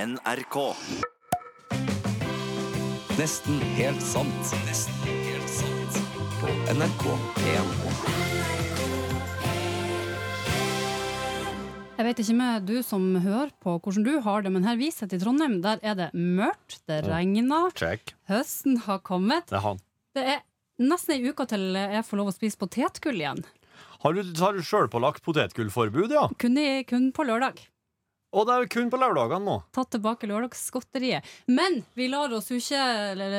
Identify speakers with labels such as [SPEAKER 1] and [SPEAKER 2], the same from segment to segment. [SPEAKER 1] NRK.
[SPEAKER 2] Nesten helt sant. Nesten helt sant. På NRK1.
[SPEAKER 3] Jeg vet ikke med du som hører på hvordan du har det, men her vi sitter i Trondheim. Der er det mørkt, det regner,
[SPEAKER 4] Check.
[SPEAKER 3] høsten har kommet.
[SPEAKER 4] Det er han.
[SPEAKER 3] Det er nesten ei uke til jeg får lov å spise potetgull igjen.
[SPEAKER 4] Har du, har du sjølpålagt potetgullforbud, ja?
[SPEAKER 3] Kun, i, kun på lørdag.
[SPEAKER 4] Og det er jo kun på lørdagene nå.
[SPEAKER 3] Tatt tilbake lørdagsgodteriet. Men vi lar oss jo ikke eller,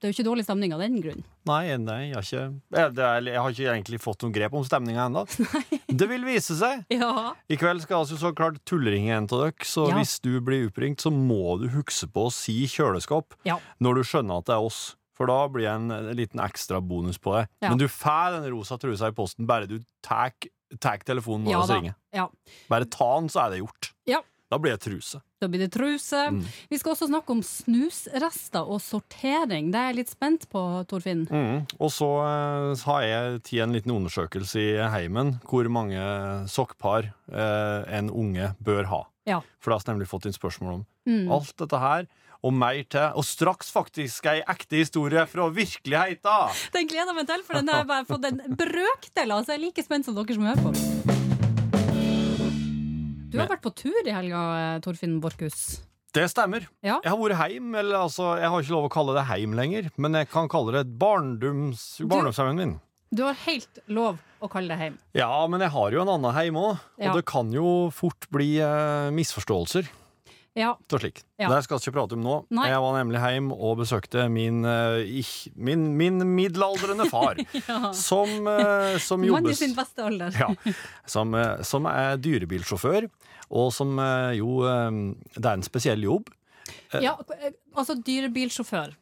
[SPEAKER 3] Det er jo ikke dårlig stemning av den grunn.
[SPEAKER 4] Nei, nei, jeg har ikke jeg, det er, jeg har ikke egentlig fått noen grep om stemninga ennå. Det vil vise seg!
[SPEAKER 3] Ja.
[SPEAKER 4] I kveld skal vi så klart tullringe en av dere, så
[SPEAKER 3] Ja.
[SPEAKER 4] hvis du blir oppringt, så må du huske på å si kjøleskap
[SPEAKER 3] Ja.
[SPEAKER 4] når du skjønner at det er oss. For da blir det en, en liten ekstra bonus på det.
[SPEAKER 3] Ja.
[SPEAKER 4] Men du får den rosa trusa i posten bare du tar tar telefonen vår
[SPEAKER 3] Ja
[SPEAKER 4] og
[SPEAKER 3] da.
[SPEAKER 4] ringer.
[SPEAKER 3] ja.
[SPEAKER 4] Bare ta den, så er det gjort.
[SPEAKER 3] Ja.
[SPEAKER 4] Da blir det truse.
[SPEAKER 3] Da blir det truse. Vi skal også snakke om snusrester og sortering. Det er jeg litt spent på, Torfinn.
[SPEAKER 4] Mm. Og så eh, har jeg tid en liten undersøkelse i heimen hvor mange sokkpar eh, en unge bør ha.
[SPEAKER 3] Ja.
[SPEAKER 4] For det har vi nemlig fått inn spørsmål om.
[SPEAKER 3] Mm.
[SPEAKER 4] Alt dette her og mer til. Og straks faktisk ei ekte historie fra virkeligheta!
[SPEAKER 3] Den gleder jeg meg til, for den har jeg bare fått en brøkdel av. Så jeg er like spent som dere som hører på. Du har
[SPEAKER 4] Men-
[SPEAKER 3] vært på tur i helga, eh, Torfinn Borchhus.
[SPEAKER 4] Det stemmer.
[SPEAKER 3] Ja.
[SPEAKER 4] Jeg har vært heim, eller altså, jeg har ikke lov å kalle det heim lenger, men jeg kan kalle det barndoms, barndomsheimen min.
[SPEAKER 3] Du har helt lov å kalle det hjem.
[SPEAKER 4] Ja, men jeg har jo en annen heim òg, og
[SPEAKER 3] Ja.
[SPEAKER 4] det kan jo fort bli eh, misforståelser.
[SPEAKER 3] Ja.
[SPEAKER 4] og slik.
[SPEAKER 3] Ja.
[SPEAKER 4] Det skal vi ikke prate om nå.
[SPEAKER 3] Nei.
[SPEAKER 4] Jeg var nemlig hjem og besøkte min, eh, ich- min, min middelaldrende far,
[SPEAKER 3] ja.
[SPEAKER 4] som, eh, som
[SPEAKER 3] Mann i
[SPEAKER 4] jobbes
[SPEAKER 3] sin beste alder.
[SPEAKER 4] ja, som, eh, som er dyrebilsjåfør, og som eh, jo eh, Det er en spesiell jobb.
[SPEAKER 3] Ja, eh, altså dyrebilsjåfør.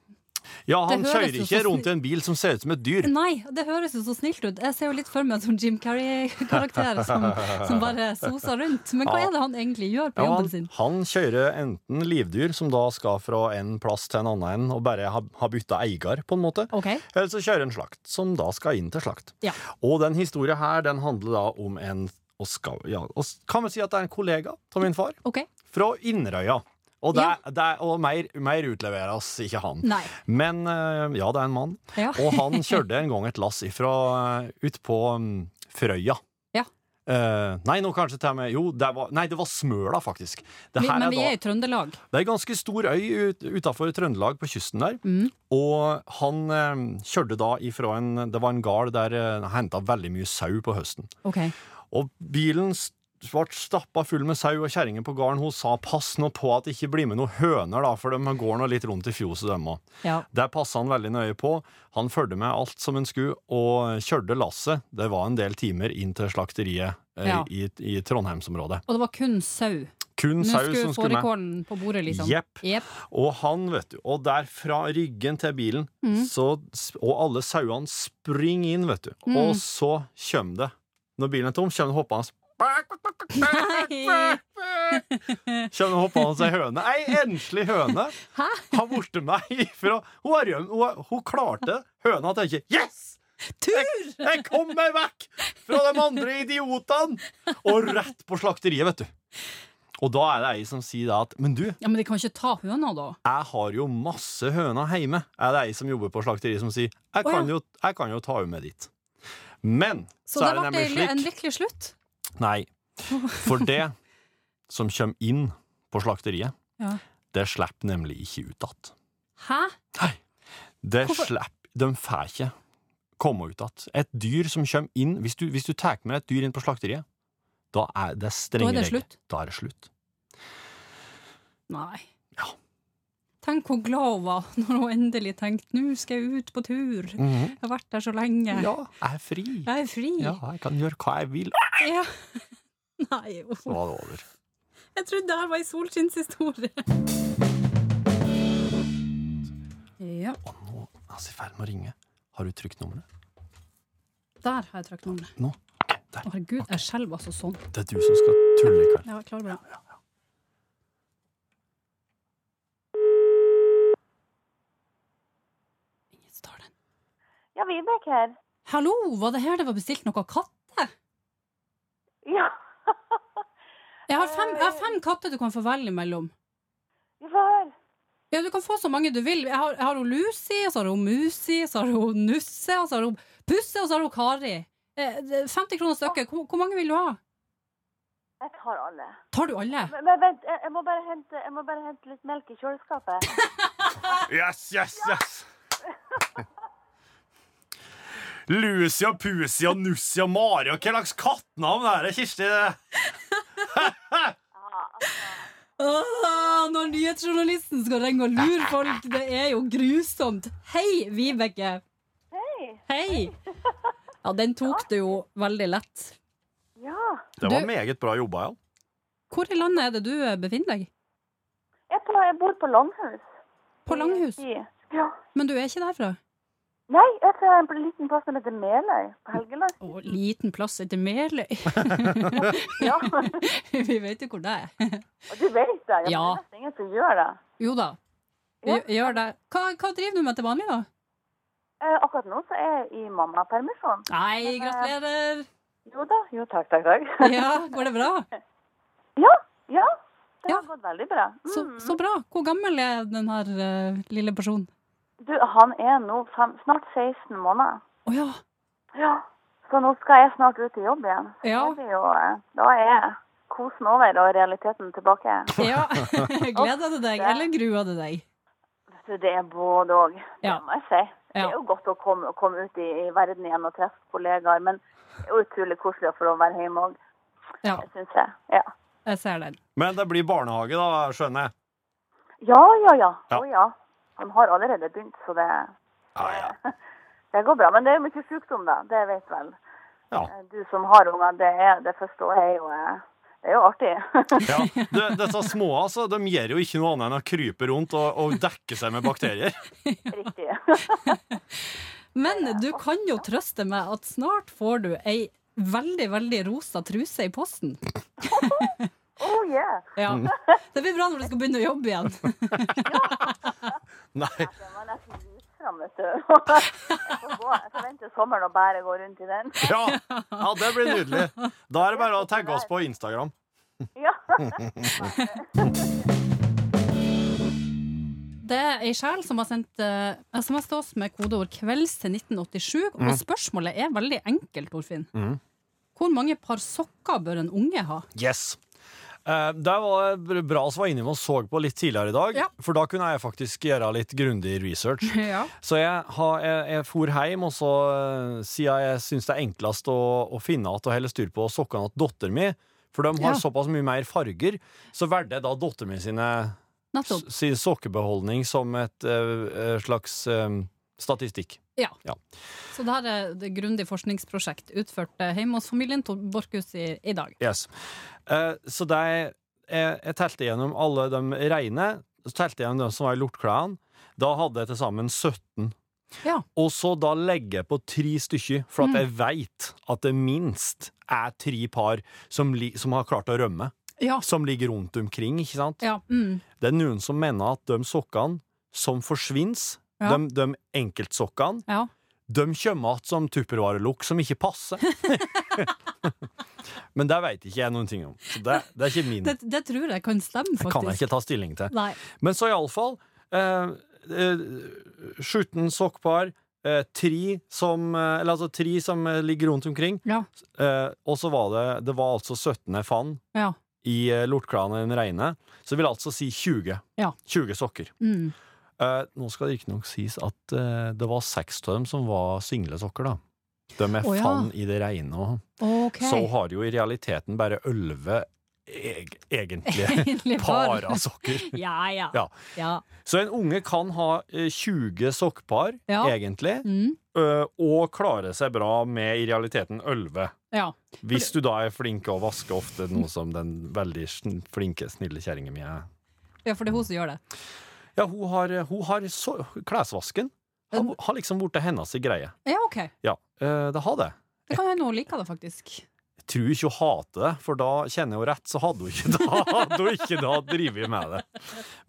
[SPEAKER 4] Ja, han
[SPEAKER 3] Det høres
[SPEAKER 4] kjører
[SPEAKER 3] jo
[SPEAKER 4] ikke
[SPEAKER 3] så
[SPEAKER 4] rundt i en bil som ser ut som et dyr.
[SPEAKER 3] Nei, det høres jo så snilt ut. Jeg ser jo litt for meg som Jim Carrey-karakter som, som bare soser rundt. Men hva
[SPEAKER 4] Ja.
[SPEAKER 3] er det han egentlig gjør på
[SPEAKER 4] Ja,
[SPEAKER 3] jobben
[SPEAKER 4] han,
[SPEAKER 3] sin?
[SPEAKER 4] han kjører enten livdyr, som da skal fra en plass til en annen, og bare har ha bytta eier, på en måte.
[SPEAKER 3] Ok,
[SPEAKER 4] Eller så kjører en slakt, som da skal inn til slakt.
[SPEAKER 3] Ja.
[SPEAKER 4] Og den historien her, den handler da om en og skal, ja, og s- Kan vi si at det er en kollega av min far,
[SPEAKER 3] ok.
[SPEAKER 4] fra Inderøya. Og, det,
[SPEAKER 3] Ja.
[SPEAKER 4] det, og mer, mer utleveres ikke han.
[SPEAKER 3] Nei.
[SPEAKER 4] Men eh, ja, det er en mann.
[SPEAKER 3] Ja.
[SPEAKER 4] Og han kjørte en gang et lass ifra eh, ut på mm, Frøya.
[SPEAKER 3] Ja.
[SPEAKER 4] Eh, nei, nå kanskje til og med Jo, det var, nei, det var Smøla, faktisk. Det
[SPEAKER 3] Vi,
[SPEAKER 4] her
[SPEAKER 3] men
[SPEAKER 4] er
[SPEAKER 3] vi
[SPEAKER 4] da-
[SPEAKER 3] er i Trøndelag.
[SPEAKER 4] det er en ganske stor øy ut, utenfor Trøndelag på kysten der,
[SPEAKER 3] Mm.
[SPEAKER 4] og han eh, kjørte da ifra en, det var en gard der eh, hentet veldig mye sau på høsten.
[SPEAKER 3] Ok.
[SPEAKER 4] Og bilen s- ble stappa full med sau, og kjerringen på gården hun sa pass nå på at det ikke blir med noen høner, da, for de går nå litt rundt i fjoset, dem òg.
[SPEAKER 3] Ja.
[SPEAKER 4] Der passa han veldig nøye på. Han fulgte med alt som en skulle, og kjørte lasset. Det var en del timer inn til slakteriet eh,
[SPEAKER 3] Ja.
[SPEAKER 4] i, i Trondheimsområdet.
[SPEAKER 3] Og det var kun sau.
[SPEAKER 4] Kun
[SPEAKER 3] Nå
[SPEAKER 4] sau som
[SPEAKER 3] skulle
[SPEAKER 4] skulle med.
[SPEAKER 3] fårikålen på bordet, liksom.
[SPEAKER 4] Jepp.
[SPEAKER 3] Jepp.
[SPEAKER 4] Og han, vet du, og der fra ryggen til bilen,
[SPEAKER 3] Mm.
[SPEAKER 4] så, og alle sauene springer inn, vet du.
[SPEAKER 3] Mm.
[SPEAKER 4] Og så kommer det, når bilen er tom, kommer det hoppende
[SPEAKER 3] Nei.
[SPEAKER 4] Kommer det hoppende ei høne. Ei enslig høne
[SPEAKER 3] Hæ?
[SPEAKER 4] har borte meg ifra Hun, har, rømt- hun, har- hun klarte høna til å tenke Yes!
[SPEAKER 3] Tur!
[SPEAKER 4] Jeg kom meg vekk fra de andre idiotene! Og rett på slakteriet, vet du. Og da er det ei som sier da at Men du,
[SPEAKER 3] Ja, Men de kan ikke ta høna, da.
[SPEAKER 4] jeg har jo masse høner hjemme, er det ei som jobber på slakteri som sier
[SPEAKER 3] Å,
[SPEAKER 4] jeg kan,
[SPEAKER 3] ja.
[SPEAKER 4] jo, jeg kan jo ta henne med dit. Men
[SPEAKER 3] Så,
[SPEAKER 4] så,
[SPEAKER 3] det
[SPEAKER 4] er
[SPEAKER 3] ble
[SPEAKER 4] det nemlig
[SPEAKER 3] egentlig
[SPEAKER 4] slik
[SPEAKER 3] en lykkelig slutt.
[SPEAKER 4] Nei. For det som kommer inn på slakteriet,
[SPEAKER 3] Ja.
[SPEAKER 4] det slipper nemlig ikke ut igjen.
[SPEAKER 3] Hæ?
[SPEAKER 4] Nei. Det
[SPEAKER 3] Hvorfor?
[SPEAKER 4] slipper De får ikke komme ut igjen. Et dyr som kommer inn Hvis du, hvis du tar med et dyr inn på slakteriet, da er det strenge
[SPEAKER 3] Da er det
[SPEAKER 4] regler.
[SPEAKER 3] slutt.
[SPEAKER 4] Da er det slutt.
[SPEAKER 3] Nei.
[SPEAKER 4] Ja.
[SPEAKER 3] Tenk hvor glad hun var når hun endelig tenkte 'nå skal jeg ut på tur', jeg har vært der så lenge,
[SPEAKER 4] Mhm. Ja, jeg er fri.
[SPEAKER 3] jeg er fri.
[SPEAKER 4] Ja, jeg kan gjøre hva jeg vil.
[SPEAKER 3] Ja. Nei, uff.
[SPEAKER 4] Så var det over.
[SPEAKER 3] jeg trodde det her var ei solskinnshistorie. Ja,
[SPEAKER 4] Og nå er vi i ferd med å ringe. Har du trykt nummeret?
[SPEAKER 3] der har jeg trukket nummeret.
[SPEAKER 4] Nå. Ok, Der.
[SPEAKER 3] Å, Herregud, jeg skjelver altså sånn.
[SPEAKER 4] Det er du som skal tulle i kveld.
[SPEAKER 3] Ja, jeg klarer meg. Ingen tar den.
[SPEAKER 5] Ja, Vibeke her.
[SPEAKER 3] Hallo, var det her det var bestilt noe katte?
[SPEAKER 5] Ja.
[SPEAKER 3] Jeg har fem, jeg har fem katter du kan få velge mellom. Ja, du kan få så mange du vil. Jeg har, jeg har hun Lucy, og så har hun Musi, så har hun Nusse, og så har hun Pusse, og så har hun Kari. Eh, det- 50 kroner stykket. Hvor, hvor mange vil du ha?
[SPEAKER 5] Jeg tar alle.
[SPEAKER 3] Tar du alle?
[SPEAKER 5] Men, men vent, jeg, jeg, må bare hente, jeg må bare hente litt melk i kjøleskapet.
[SPEAKER 4] Yes, yes, yes! Lucy og Pusi og Nussi og Mari og hva slags kattenavn er det, Kirsti?
[SPEAKER 3] Åh, når nyhetsjournalisten skal ringe og lure folk, det er jo grusomt. Hei, Vibeke.
[SPEAKER 5] Hei!
[SPEAKER 3] Hei. Ja, den tok du jo veldig lett.
[SPEAKER 5] Ja.
[SPEAKER 4] Det var
[SPEAKER 3] Du-
[SPEAKER 4] meget bra jobba, Jan.
[SPEAKER 3] Hvor i landet er det du eh, befinner deg?
[SPEAKER 5] Jeg, er på, jeg bor på Langhus.
[SPEAKER 3] På Langhus?
[SPEAKER 5] I- Ja.
[SPEAKER 3] Men du er ikke derfra?
[SPEAKER 5] Nei, jeg er fra en liten plass som heter Meløy på Helgeland.
[SPEAKER 3] Å, liten plass etter Meløy.
[SPEAKER 5] Ja. Og
[SPEAKER 3] Vi vet jo hvor det er.
[SPEAKER 5] du vet det.
[SPEAKER 3] Ja.
[SPEAKER 5] Jeg ja. nesten ingen som gjør det.
[SPEAKER 3] Jo da. Vi
[SPEAKER 5] Ja.
[SPEAKER 3] gjør det. Hva, hva driver du med til vanlig, da?
[SPEAKER 5] Eh, akkurat nå så er jeg i mammapermisjon.
[SPEAKER 3] Nei, gratulerer.
[SPEAKER 5] Jo da. Jo, takk, takk, takk.
[SPEAKER 3] Ja, går det bra?
[SPEAKER 5] Ja. Ja. Det
[SPEAKER 3] Ja.
[SPEAKER 5] har gått veldig bra. Mm.
[SPEAKER 3] Så, så bra. Hvor gammel er den her eh, lille personen?
[SPEAKER 5] Du, han er nå fem, snart 16 måneder.
[SPEAKER 3] Å ja.
[SPEAKER 5] Ja. Så nå skal jeg snart ut i jobb igjen. Så
[SPEAKER 3] Ja.
[SPEAKER 5] det blir jo, eh, da er kosen over og realiteten tilbake.
[SPEAKER 3] Ja, Gleder du deg, eller gruer du deg?
[SPEAKER 5] Så det er både òg,
[SPEAKER 3] Ja.
[SPEAKER 5] det må jeg si. Det
[SPEAKER 3] Ja.
[SPEAKER 5] er jo godt å komme, å komme ut i, i verden igjen og treffe kollegaer, men det er jo utrolig koselig å få lov å være hjemme òg,
[SPEAKER 3] Ja,
[SPEAKER 5] syns jeg. Ja.
[SPEAKER 3] jeg ser den.
[SPEAKER 4] Men det blir barnehage, da, skjønner jeg.
[SPEAKER 5] ja, ja, ja.
[SPEAKER 4] Ja.
[SPEAKER 5] Å ja. Han har allerede begynt, så det,
[SPEAKER 4] Ja, ja.
[SPEAKER 5] det går bra. Men det er jo mye sykdom, da. Det vet vel
[SPEAKER 4] Ja.
[SPEAKER 5] Eh, du som har unger. Det, er, det første året er jo, eh, det er jo artig.
[SPEAKER 4] Ja, det, disse små altså, de gjør jo ikke noe annet enn å krype rundt og, og dekke seg med bakterier.
[SPEAKER 5] Riktig.
[SPEAKER 3] Men du kan jo trøste meg at snart får du ei veldig, veldig rosa truse i posten.
[SPEAKER 5] Oh yeah.
[SPEAKER 3] Ja. Det blir bra når du skal begynne å jobbe igjen.
[SPEAKER 4] Nei,
[SPEAKER 5] Den var nesten vist fram, vet du. Jeg får gå- Jeg forventer sommeren og bare gå rundt i den.
[SPEAKER 4] ja, ja, det blir nydelig. Da er det bare å tagge oss på Instagram.
[SPEAKER 5] Ja.
[SPEAKER 3] Det er ei sjel som har sendt eh, SMS til oss med kodeord 'kvelds' til 1987, og spørsmålet er veldig enkelt, Torfinn.
[SPEAKER 4] Mhm.
[SPEAKER 3] Hvor mange par sokker bør en unge ha?
[SPEAKER 4] Yes. Eh, Det var bra vi var inne og så på litt tidligere i dag,
[SPEAKER 3] Ja.
[SPEAKER 4] for da kunne jeg faktisk gjøre litt grundig research.
[SPEAKER 3] Ja.
[SPEAKER 4] Så jeg, har- jeg, jeg for hjem, og så eh, siden jeg syns det er enklest å, å finne at og helle styr på sokkene til datteren min, for de har
[SPEAKER 3] Ja.
[SPEAKER 4] såpass mye mer farger, så valgte jeg da datteren min sine,
[SPEAKER 3] Nettopp.
[SPEAKER 4] sin sokkebeholdning som et eh, eh, slags eh, statistikk.
[SPEAKER 3] Så det her er et grundig forskningsprosjekt utført eh, hjemme hos familien Tor- Borchhus i, i dag.
[SPEAKER 4] Yes. Eh, så det er- jeg, jeg telte gjennom alle de reine, så telte jeg gjennom de som var i lortklærne. Da hadde jeg til sammen 17.
[SPEAKER 3] Ja.
[SPEAKER 4] Og så da legger jeg på tre stykker, for at jeg veit at det minst er tre par som, li, som har klart å rømme,
[SPEAKER 3] Ja.
[SPEAKER 4] som ligger rundt omkring, ikke sant?
[SPEAKER 3] ja. Mm.
[SPEAKER 4] Det er noen som mener at de sokkene som forsvinner,
[SPEAKER 3] Ja.
[SPEAKER 4] de, de enkeltsokkene,
[SPEAKER 3] ja.
[SPEAKER 4] de kommer igjen som tuppervarelukk som ikke passer. Men det veit ikke jeg noen ting om. Så det, det er ikke min.
[SPEAKER 3] Det, det tror jeg kan stemme,
[SPEAKER 4] Det
[SPEAKER 3] faktisk.
[SPEAKER 4] kan jeg ikke ta stilling til.
[SPEAKER 3] Nei.
[SPEAKER 4] Men så iallfall eh, eh, 17 sokkpar, eh, tre som, eh, eller altså tre som eh, ligger rundt omkring,
[SPEAKER 3] Ja.
[SPEAKER 4] eh, og så var det Det var altså 17 jeg fant
[SPEAKER 3] ja.
[SPEAKER 4] i eh, lortklærne den reine, så vil jeg altså si 20.
[SPEAKER 3] Ja.
[SPEAKER 4] 20 sokker.
[SPEAKER 3] Mm.
[SPEAKER 4] Eh, nå skal det riktignok sies at eh, det var seks av dem som var single sokker, da. De jeg
[SPEAKER 3] Å, ja.
[SPEAKER 4] fant i det reine òg.
[SPEAKER 3] OK.
[SPEAKER 4] Så har jo i realiteten bare elleve eg egentlige
[SPEAKER 3] Egentlig
[SPEAKER 4] par
[SPEAKER 3] par.
[SPEAKER 4] av sokker.
[SPEAKER 3] Ja, ja.
[SPEAKER 4] Ja.
[SPEAKER 3] ja.
[SPEAKER 4] Så en unge kan ha eh, 20 sokkpar,
[SPEAKER 3] Ja.
[SPEAKER 4] egentlig,
[SPEAKER 3] Mm.
[SPEAKER 4] ø, og klare seg bra med i realiteten 11.
[SPEAKER 3] ja.
[SPEAKER 4] Hvis du da er flink å vaske ofte, noe som den veldig sn- flinke, snille kjerringa mi er.
[SPEAKER 3] Ja, for det er hun som gjør det.
[SPEAKER 4] Ja, hun har, hun har så, klesvasken. Har, har liksom blitt hennes greie.
[SPEAKER 3] Ja, OK.
[SPEAKER 4] Ja, ø, det har det.
[SPEAKER 3] Det kan hende hun liker det, faktisk.
[SPEAKER 4] Jeg tror ikke hun hater det, for da kjenner hun rett, så hadde hun ikke da, hadde hun ikke da drevet med det.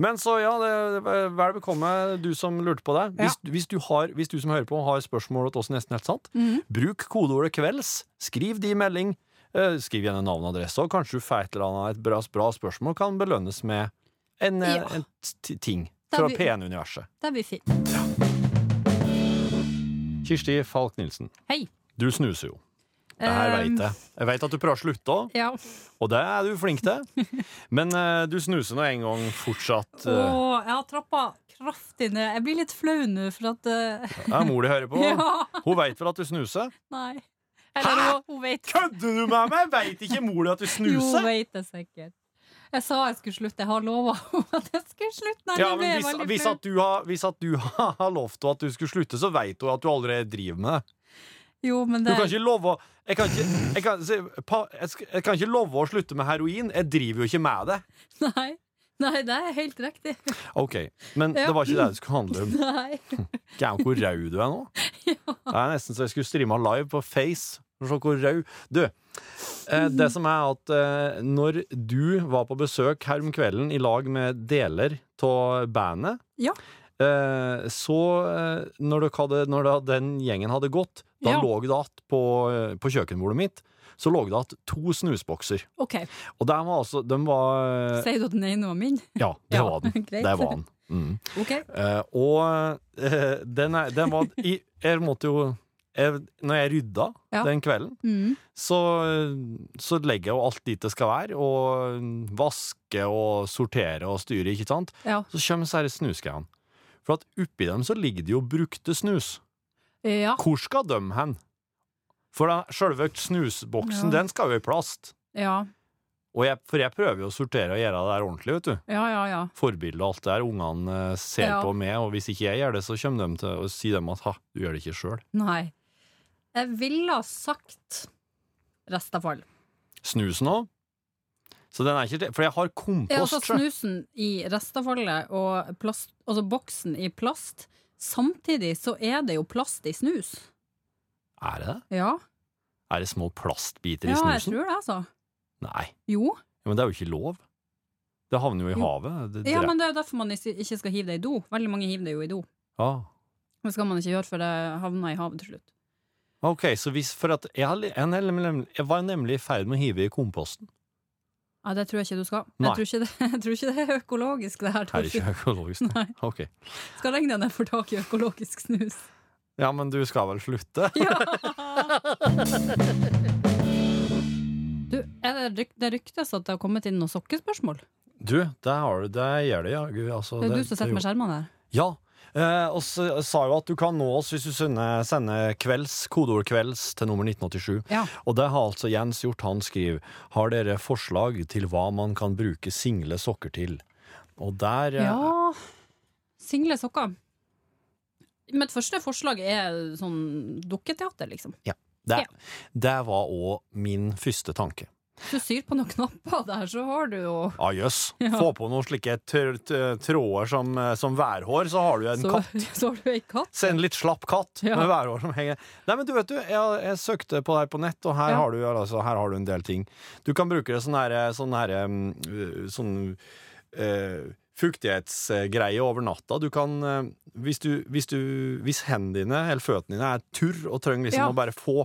[SPEAKER 4] Men så ja, det, det, vel bekomme du som lurte på det. Hvis, hvis, du har, hvis du som hører på har spørsmål til oss i nesten helt sant,
[SPEAKER 3] Mhm.
[SPEAKER 4] bruk kodeordet kvelds, skriv de i melding, eh, skriv gjerne navn og adresse, og kanskje du får et eller annet et bra, bra spørsmål kan belønnes med en, eh,
[SPEAKER 3] Ja.
[SPEAKER 4] en t- ting. fra
[SPEAKER 3] blir-
[SPEAKER 4] P1-universet.
[SPEAKER 3] Det blir fint.
[SPEAKER 4] Kirsti Falk Nilsen,
[SPEAKER 3] Hei.
[SPEAKER 4] du snuser jo. Det her
[SPEAKER 3] Um,
[SPEAKER 4] veit jeg. Jeg veit at du prøver å slutte òg,
[SPEAKER 3] Ja.
[SPEAKER 4] og det er du flink til. Men eh, du snuser nå en gang fortsatt. eh,
[SPEAKER 3] Åh, jeg har trappa kraftig ned. Jeg blir litt flau nå, for at eh,
[SPEAKER 4] Det er mor de hører på.
[SPEAKER 3] Ja.
[SPEAKER 4] Hun veit vel at du snuser?
[SPEAKER 3] Nei. Eller hun, hun vet
[SPEAKER 4] Kødder du med meg?! Veit ikke mor di at du
[SPEAKER 3] Jo, hun
[SPEAKER 4] snuser?
[SPEAKER 3] vet det sikkert. Jeg sa jeg skulle slutte. Jeg har lova at jeg skulle slutte. Nei,
[SPEAKER 4] Ja,
[SPEAKER 3] nå ble
[SPEAKER 4] men
[SPEAKER 3] jeg
[SPEAKER 4] hvis,
[SPEAKER 3] veldig
[SPEAKER 4] hvis
[SPEAKER 3] flau.
[SPEAKER 4] at du har, hvis at du har lovt henne at du skulle slutte, så veit hun at du allerede driver med det.
[SPEAKER 3] Jo, men
[SPEAKER 4] Du
[SPEAKER 3] det
[SPEAKER 4] kan ikke love å- jeg kan ikke, jeg kan, se, pa- jeg sk- jeg kan ikke love å slutte med heroin. Jeg driver jo ikke med det.
[SPEAKER 3] Nei. Nei, det er helt riktig.
[SPEAKER 4] Ok, Men
[SPEAKER 3] Ja.
[SPEAKER 4] det var ikke det det skulle handle om.
[SPEAKER 3] Nei.
[SPEAKER 4] Gæren hvor rød du er nå. Det er nesten så jeg skulle streama live på Face. For å se hvor rød Du, eh, det som er at eh, når du var på besøk her om kvelden i lag med deler av bandet
[SPEAKER 3] Ja.
[SPEAKER 4] eh, Så eh, når, dere hadde, når da den gjengen hadde gått, da
[SPEAKER 3] Ja.
[SPEAKER 4] lå det igjen på, eh, på kjøkkenbordet mitt Så lå det igjen to snusbokser.
[SPEAKER 3] OK.
[SPEAKER 4] Og de var altså De var
[SPEAKER 3] Sier du at den ene var min?
[SPEAKER 4] Ja, det
[SPEAKER 3] Ja,
[SPEAKER 4] var den.
[SPEAKER 3] greit.
[SPEAKER 4] Det var den. Mm.
[SPEAKER 3] OK.
[SPEAKER 4] Eh, og eh, den, er, den var i, Jeg måtte jo jeg, Når jeg rydda
[SPEAKER 3] Ja.
[SPEAKER 4] den kvelden,
[SPEAKER 3] Mm.
[SPEAKER 4] så, så legger jeg jo alt dit det skal være, og vasker og sorterer og styrer, ikke sant?
[SPEAKER 3] Ja.
[SPEAKER 4] Så kommer disse her snusgreiene. For at oppi dem så ligger det jo brukte snus.
[SPEAKER 3] Ja.
[SPEAKER 4] Hvor skal de hen? For da, sjølve snusboksen,
[SPEAKER 3] Ja.
[SPEAKER 4] den skal jo i plast.
[SPEAKER 3] Ja.
[SPEAKER 4] Og jeg, for jeg prøver jo å sortere og gjøre det der ordentlig, vet du
[SPEAKER 3] Ja, ja, ja.
[SPEAKER 4] forbilde og alt det der ungene eh, ser
[SPEAKER 3] Ja.
[SPEAKER 4] på meg, og hvis ikke jeg gjør det, så kommer de til å si dem at ha, du gjør det ikke sjøl.
[SPEAKER 3] Nei. Jeg ville ha sagt restavfall.
[SPEAKER 4] Snus nå. Så den er ikke til, for jeg har
[SPEAKER 3] Ja, altså
[SPEAKER 4] kompost. sjø.
[SPEAKER 3] snusen i restavfallet og plast, altså boksen i plast. Samtidig så er det jo plast i snus.
[SPEAKER 4] er det det?
[SPEAKER 3] Ja,
[SPEAKER 4] Er det små plastbiter
[SPEAKER 3] ja
[SPEAKER 4] i
[SPEAKER 3] jeg
[SPEAKER 4] snusen?
[SPEAKER 3] tror det, altså.
[SPEAKER 4] Nei,
[SPEAKER 3] Jo.
[SPEAKER 4] Ja, men det er jo ikke lov. Det havner jo i
[SPEAKER 3] Jo.
[SPEAKER 4] havet. Det,
[SPEAKER 3] Ja,
[SPEAKER 4] dreper-
[SPEAKER 3] men det er jo derfor man is- ikke skal hive det i do. Veldig mange hiver det jo i do.
[SPEAKER 4] ah.
[SPEAKER 3] Det skal man ikke gjøre, for det havner i havet til slutt.
[SPEAKER 4] Ok, så hvis for at jeg, har li- jeg, nemlig- jeg var nemlig i ferd med å hive i komposten.
[SPEAKER 3] Ja, det tror jeg ikke du skal. Jeg
[SPEAKER 4] Nei.
[SPEAKER 3] tror ikke, det, jeg tror ikke det er økologisk, det her.
[SPEAKER 4] Her er det
[SPEAKER 3] Torfinn.
[SPEAKER 4] ikke økologisk.
[SPEAKER 3] Nei.
[SPEAKER 4] Ok.
[SPEAKER 3] Skal regne deg for tak i økologisk snus.
[SPEAKER 4] Ja, men du skal vel slutte?
[SPEAKER 3] Ja! Du, er det, ryk, det ryktes at det har kommet inn noen sokkespørsmål?
[SPEAKER 4] Du, det har du. Det gjør det, ja. Gud, altså,
[SPEAKER 3] Det er du som sitter
[SPEAKER 4] gjorde-
[SPEAKER 3] med skjermene der.
[SPEAKER 4] Ja. Eh, og så sa jo at du kan nå oss hvis du sender, sender kvelds, kodeord kvelds til nummer 1987.
[SPEAKER 3] Ja.
[SPEAKER 4] Og det har altså Jens gjort. Han skriver Har dere forslag til hva man kan bruke single sokker til? Og der eh,
[SPEAKER 3] Ja Single sokker. Mitt første forslag er sånn dukketeater, liksom.
[SPEAKER 4] det,
[SPEAKER 3] ja.
[SPEAKER 4] det var òg min første tanke.
[SPEAKER 3] Hvis du syr på noen knapper der, så har du jo
[SPEAKER 4] Ah, jøss.
[SPEAKER 3] Ja.
[SPEAKER 4] Få på noen slike tr t- tråder som, eh, som værhår, så har du en
[SPEAKER 3] så,
[SPEAKER 4] katt.
[SPEAKER 3] så har du ei katt.
[SPEAKER 4] Se en litt slapp katt
[SPEAKER 3] Ja.
[SPEAKER 4] med værhår som henger Nei, men du vet du, jeg, jeg søkte på det her på nett, og her,
[SPEAKER 3] Ja.
[SPEAKER 4] har du, altså, her har du en del ting. Du kan bruke det sånn her, sånn her mm, øh, sånn eh, fuktighetsgreie over natta. Du kan eh, Hvis du Hvis, du, hvis hendene dine, eller føttene dine, er turr og trenger liksom
[SPEAKER 3] Ja.
[SPEAKER 4] å bare få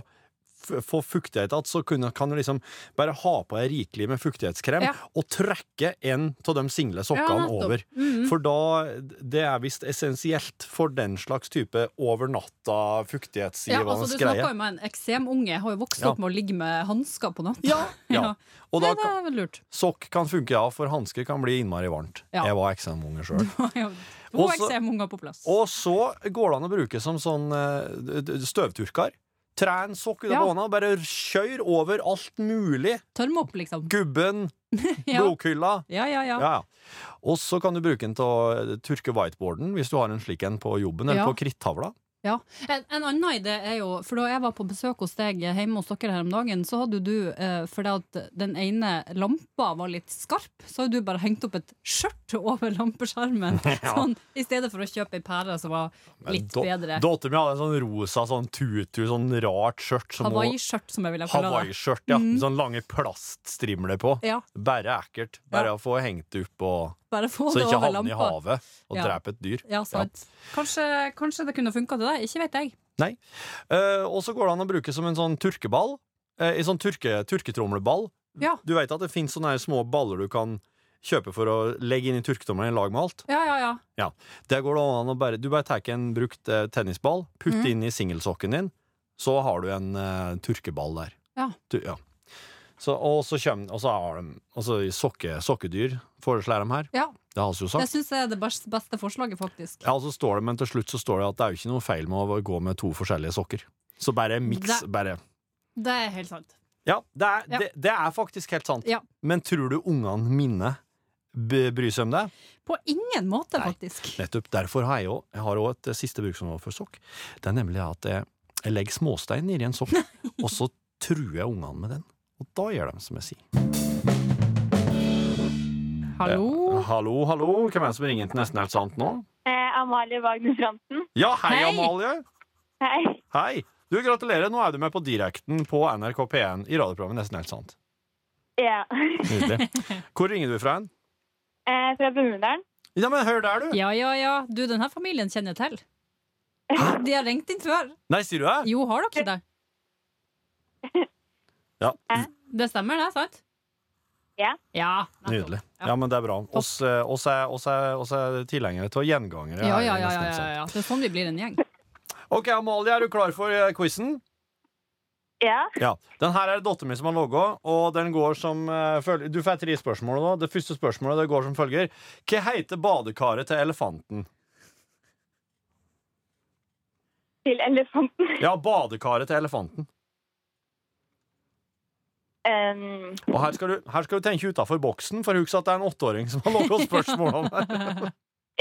[SPEAKER 4] f- få fuktighet igjen, så kunne, kan du liksom bare ha på deg rikelig med fuktighetskrem
[SPEAKER 3] Ja.
[SPEAKER 4] og trekke en av de single sokkene
[SPEAKER 3] nettopp.
[SPEAKER 4] over.
[SPEAKER 3] Mhm.
[SPEAKER 4] For da, det er visst essensielt for den slags type over natta
[SPEAKER 3] Ja, altså,
[SPEAKER 4] fuktighetsgivende
[SPEAKER 3] du snakka
[SPEAKER 4] greie.
[SPEAKER 3] jo med en eksemunge. Jeg har jo vokst
[SPEAKER 4] Ja.
[SPEAKER 3] opp med å ligge med hansker på natta.
[SPEAKER 4] Ja, ja. Og da,
[SPEAKER 3] Nei, det er vel lurt.
[SPEAKER 4] sokk kan funke, ja, for hansker kan bli innmari varmt.
[SPEAKER 3] Ja.
[SPEAKER 4] Jeg var eksamunge sjøl.
[SPEAKER 3] Ja, To
[SPEAKER 4] Og så-
[SPEAKER 3] eksemunger på plass.
[SPEAKER 4] Og så går det an å bruke som sånn eh, d- d- støvtørker. Tre en sokk ut av
[SPEAKER 3] Ja.
[SPEAKER 4] bånda, bare kjør over alt mulig.
[SPEAKER 3] Tørme opp, liksom.
[SPEAKER 4] Gubben,
[SPEAKER 3] Ja.
[SPEAKER 4] blodkylla.
[SPEAKER 3] Ja, ja, ja.
[SPEAKER 4] Ja, ja. Og så kan du bruke den til å eh, turke whiteboarden, hvis du har en slik en på jobben, eller
[SPEAKER 3] Ja.
[SPEAKER 4] på krittavla.
[SPEAKER 3] Ja. En, en annen idé er jo, for da jeg var på besøk hos deg hjemme hos dere her om dagen, så hadde jo du, eh, fordi at den ene lampa var litt skarp, så hadde du bare hengt opp et skjørt over lampeskjermen, sånn, i stedet for å kjøpe ei pære som var litt
[SPEAKER 4] Da-
[SPEAKER 3] bedre.
[SPEAKER 4] Datteren min hadde en sånn rosa sånn tutu, sånn rart skjørt. som hun-
[SPEAKER 3] Hawaii-skjørt, som jeg ville kalle det. Mm.
[SPEAKER 4] Hawaii-skjørt, ja. Sånn lange plaststrimler på.
[SPEAKER 3] Ja,
[SPEAKER 4] Bare ekkelt. Bare
[SPEAKER 3] Ja.
[SPEAKER 4] å få hengt det opp, og,
[SPEAKER 3] bare få
[SPEAKER 4] så
[SPEAKER 3] det
[SPEAKER 4] ikke
[SPEAKER 3] over
[SPEAKER 4] havne i
[SPEAKER 3] lampa.
[SPEAKER 4] havet og
[SPEAKER 3] Ja.
[SPEAKER 4] drepe et dyr.
[SPEAKER 3] Ja, sant. Kanskje, kanskje det kunne funka til deg, ikke vet jeg.
[SPEAKER 4] Nei. Eh, og så går det an å bruke som en sånn turkeball. Eh, en sånn turke, turketromleball.
[SPEAKER 3] Ja.
[SPEAKER 4] Du vet at det finnes sånne her små baller du kan kjøper for å legge inn i tørkedommeren i lag med alt.
[SPEAKER 3] Ja, ja, ja.
[SPEAKER 4] Der går det an å bare, Du bare tar en brukt eh, tennisball, putt
[SPEAKER 3] Mhm.
[SPEAKER 4] inn i singelsokken din, så har du en eh, turkeball der.
[SPEAKER 3] Ja.
[SPEAKER 4] Tu- ja. Så, og så kommer Og så har de altså, sokke, sokkedyr, foreslår de her.
[SPEAKER 3] ja.
[SPEAKER 4] Det har vi jo
[SPEAKER 3] Det
[SPEAKER 4] sagt.
[SPEAKER 3] syns jeg er det best- beste forslaget, faktisk.
[SPEAKER 4] Ja, og så står det, Men til slutt så står det at det er jo ikke noe feil med å gå med to forskjellige sokker. Så bare miks.
[SPEAKER 3] Det-
[SPEAKER 4] Bare.
[SPEAKER 3] Det er helt sant.
[SPEAKER 4] Ja, det er,
[SPEAKER 3] Ja.
[SPEAKER 4] Det, det er faktisk helt sant.
[SPEAKER 3] Ja.
[SPEAKER 4] Men tror du ungene mine b- bryr seg om det?
[SPEAKER 3] På ingen måte,
[SPEAKER 4] Nei.
[SPEAKER 3] faktisk.
[SPEAKER 4] Nettopp. Derfor har jeg, også, jeg har også et eh, siste bruksområde for sokk. Det er nemlig at jeg, jeg legger småstein nedi en sokk, og så truer jeg ungene med den. Og da gjør de som jeg sier.
[SPEAKER 3] Hallo?
[SPEAKER 4] Hallo, hallo. Hvem er det som ringer inn til Nesten helt sant nå?
[SPEAKER 1] Eh, Amalie Wagner Fransen.
[SPEAKER 4] Ja, hei,
[SPEAKER 3] Hei.
[SPEAKER 4] Amalie!
[SPEAKER 1] Hei.
[SPEAKER 4] Hei! Du, Gratulerer, nå er du med på direkten på NRK P1 i radioprogrammet Nesten helt sant.
[SPEAKER 1] Ja.
[SPEAKER 4] Nydelig. Hvor ringer du fra hen?
[SPEAKER 1] Eh, fra Brumunddal.
[SPEAKER 4] Ja, men hør der, du!
[SPEAKER 3] Ja, ja, ja. Du, denne familien kjenner jeg til. De har ringt inn før.
[SPEAKER 4] Nei, sier du det?
[SPEAKER 3] Jo, har dere det?
[SPEAKER 4] Ja,
[SPEAKER 3] Det stemmer, det, sant?
[SPEAKER 1] Ja.
[SPEAKER 3] Ja, nettopp.
[SPEAKER 4] Nydelig. Ja, men det er bra. Oss, eh, oss, er, oss, er, oss er tilhengere til gjengangere.
[SPEAKER 3] Ja,
[SPEAKER 4] her i
[SPEAKER 3] ja, ja,
[SPEAKER 4] Nesten
[SPEAKER 3] ja,
[SPEAKER 4] Helt
[SPEAKER 3] ja,
[SPEAKER 4] Sant.
[SPEAKER 3] ja. Det er sånn vi blir en gjeng.
[SPEAKER 4] Ok, Amalie, er du klar for eh, quizen?
[SPEAKER 1] Ja.
[SPEAKER 4] Ja. Den her er det datteren min som har logga, og den går som eh, følger Du får tre spørsmål nå. Det første spørsmålet det går som følger. Hva heter badekaret til elefanten?
[SPEAKER 1] Til elefanten.
[SPEAKER 4] Ja, badekaret til elefanten.
[SPEAKER 1] Um,
[SPEAKER 4] Og her skal du, her skal du tenke utafor boksen, for husk at det er en åtteåring som har logga spørsmål om det.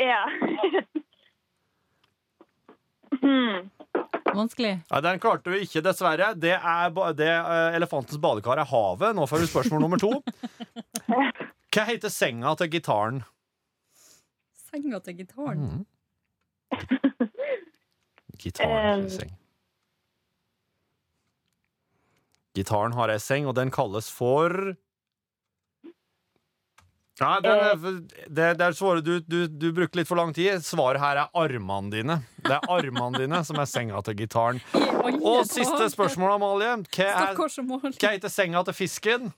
[SPEAKER 1] ja. hmm.
[SPEAKER 3] Vanskelig.
[SPEAKER 4] Nei, den klarte du ikke, dessverre. Det er ba det, eh, elefantens badekar er havet. Nå får du spørsmål nummer to. Hva heter senga til gitaren?
[SPEAKER 3] Senga til gitaren.
[SPEAKER 4] Mm. Gitaren
[SPEAKER 1] Eh,
[SPEAKER 4] har seng. Gitaren har ei seng, og den kalles for Nei, det,
[SPEAKER 3] Eh.
[SPEAKER 4] det, det er svaret du, du, du brukte litt for lang tid. Svaret her er armene dine. Det er armene dine som er senga til gitaren.
[SPEAKER 3] I alle
[SPEAKER 4] Og
[SPEAKER 3] dager.
[SPEAKER 4] siste spørsmål, Amalie. Hva, er,
[SPEAKER 3] Stakkars mål.
[SPEAKER 4] hva heter senga til fisken?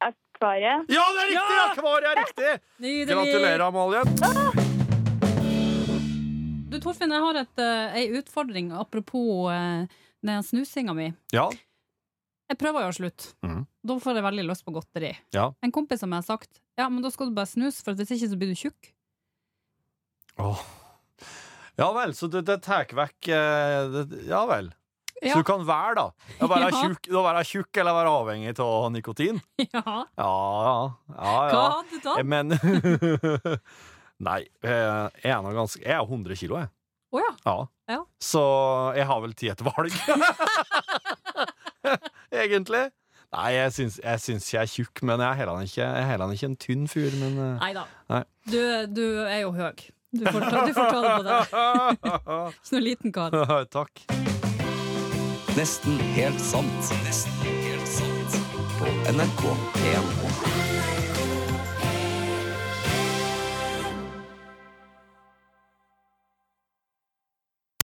[SPEAKER 1] Akvariet.
[SPEAKER 4] Ja, det er riktig!
[SPEAKER 3] Ja!
[SPEAKER 4] Akvariet er riktig!
[SPEAKER 3] Nydelig.
[SPEAKER 4] Gratulerer, Amalie.
[SPEAKER 3] Du, Torfinn, jeg har et, eh, ei utfordring apropos eh, den snusinga mi.
[SPEAKER 4] Ja,
[SPEAKER 3] Jeg prøver jo å slutte.
[SPEAKER 4] Mhm.
[SPEAKER 3] Da får jeg veldig lyst på godteri.
[SPEAKER 4] Ja.
[SPEAKER 3] En kompis som jeg har sagt Ja, men da skal du bare snuse, for hvis ikke så blir du tjukk.
[SPEAKER 4] Åh. Ja vel, så det, det tar vekk eh, det, Ja vel.
[SPEAKER 3] Ja.
[SPEAKER 4] Så du kan være, da. Å være
[SPEAKER 3] Ja.
[SPEAKER 4] tjukk, å være tjukk eller være avhengig av nikotin.
[SPEAKER 3] Ja,
[SPEAKER 4] Ja, ja. ja,
[SPEAKER 3] Hva
[SPEAKER 4] ja.
[SPEAKER 3] hadde du tatt?
[SPEAKER 4] Eh, Men Nei, eh, jeg er nå ganske Jeg er 100 kilo, jeg.
[SPEAKER 3] Å ja.
[SPEAKER 4] Ja.
[SPEAKER 3] Ja.
[SPEAKER 4] Så jeg har vel tid et valg. Egentlig. Nei, jeg syns, jeg syns jeg er tjukk, men jeg er heller ikke, jeg er heller ikke en tynn fyr. Men eh.
[SPEAKER 3] Nei da.
[SPEAKER 4] Nei.
[SPEAKER 3] Du, du er jo høy. Du får ta, du får ta det på deg. Ikke noen liten kar.
[SPEAKER 4] Takk.
[SPEAKER 2] Nesten helt sant. Nesten helt sant. På NRK P1.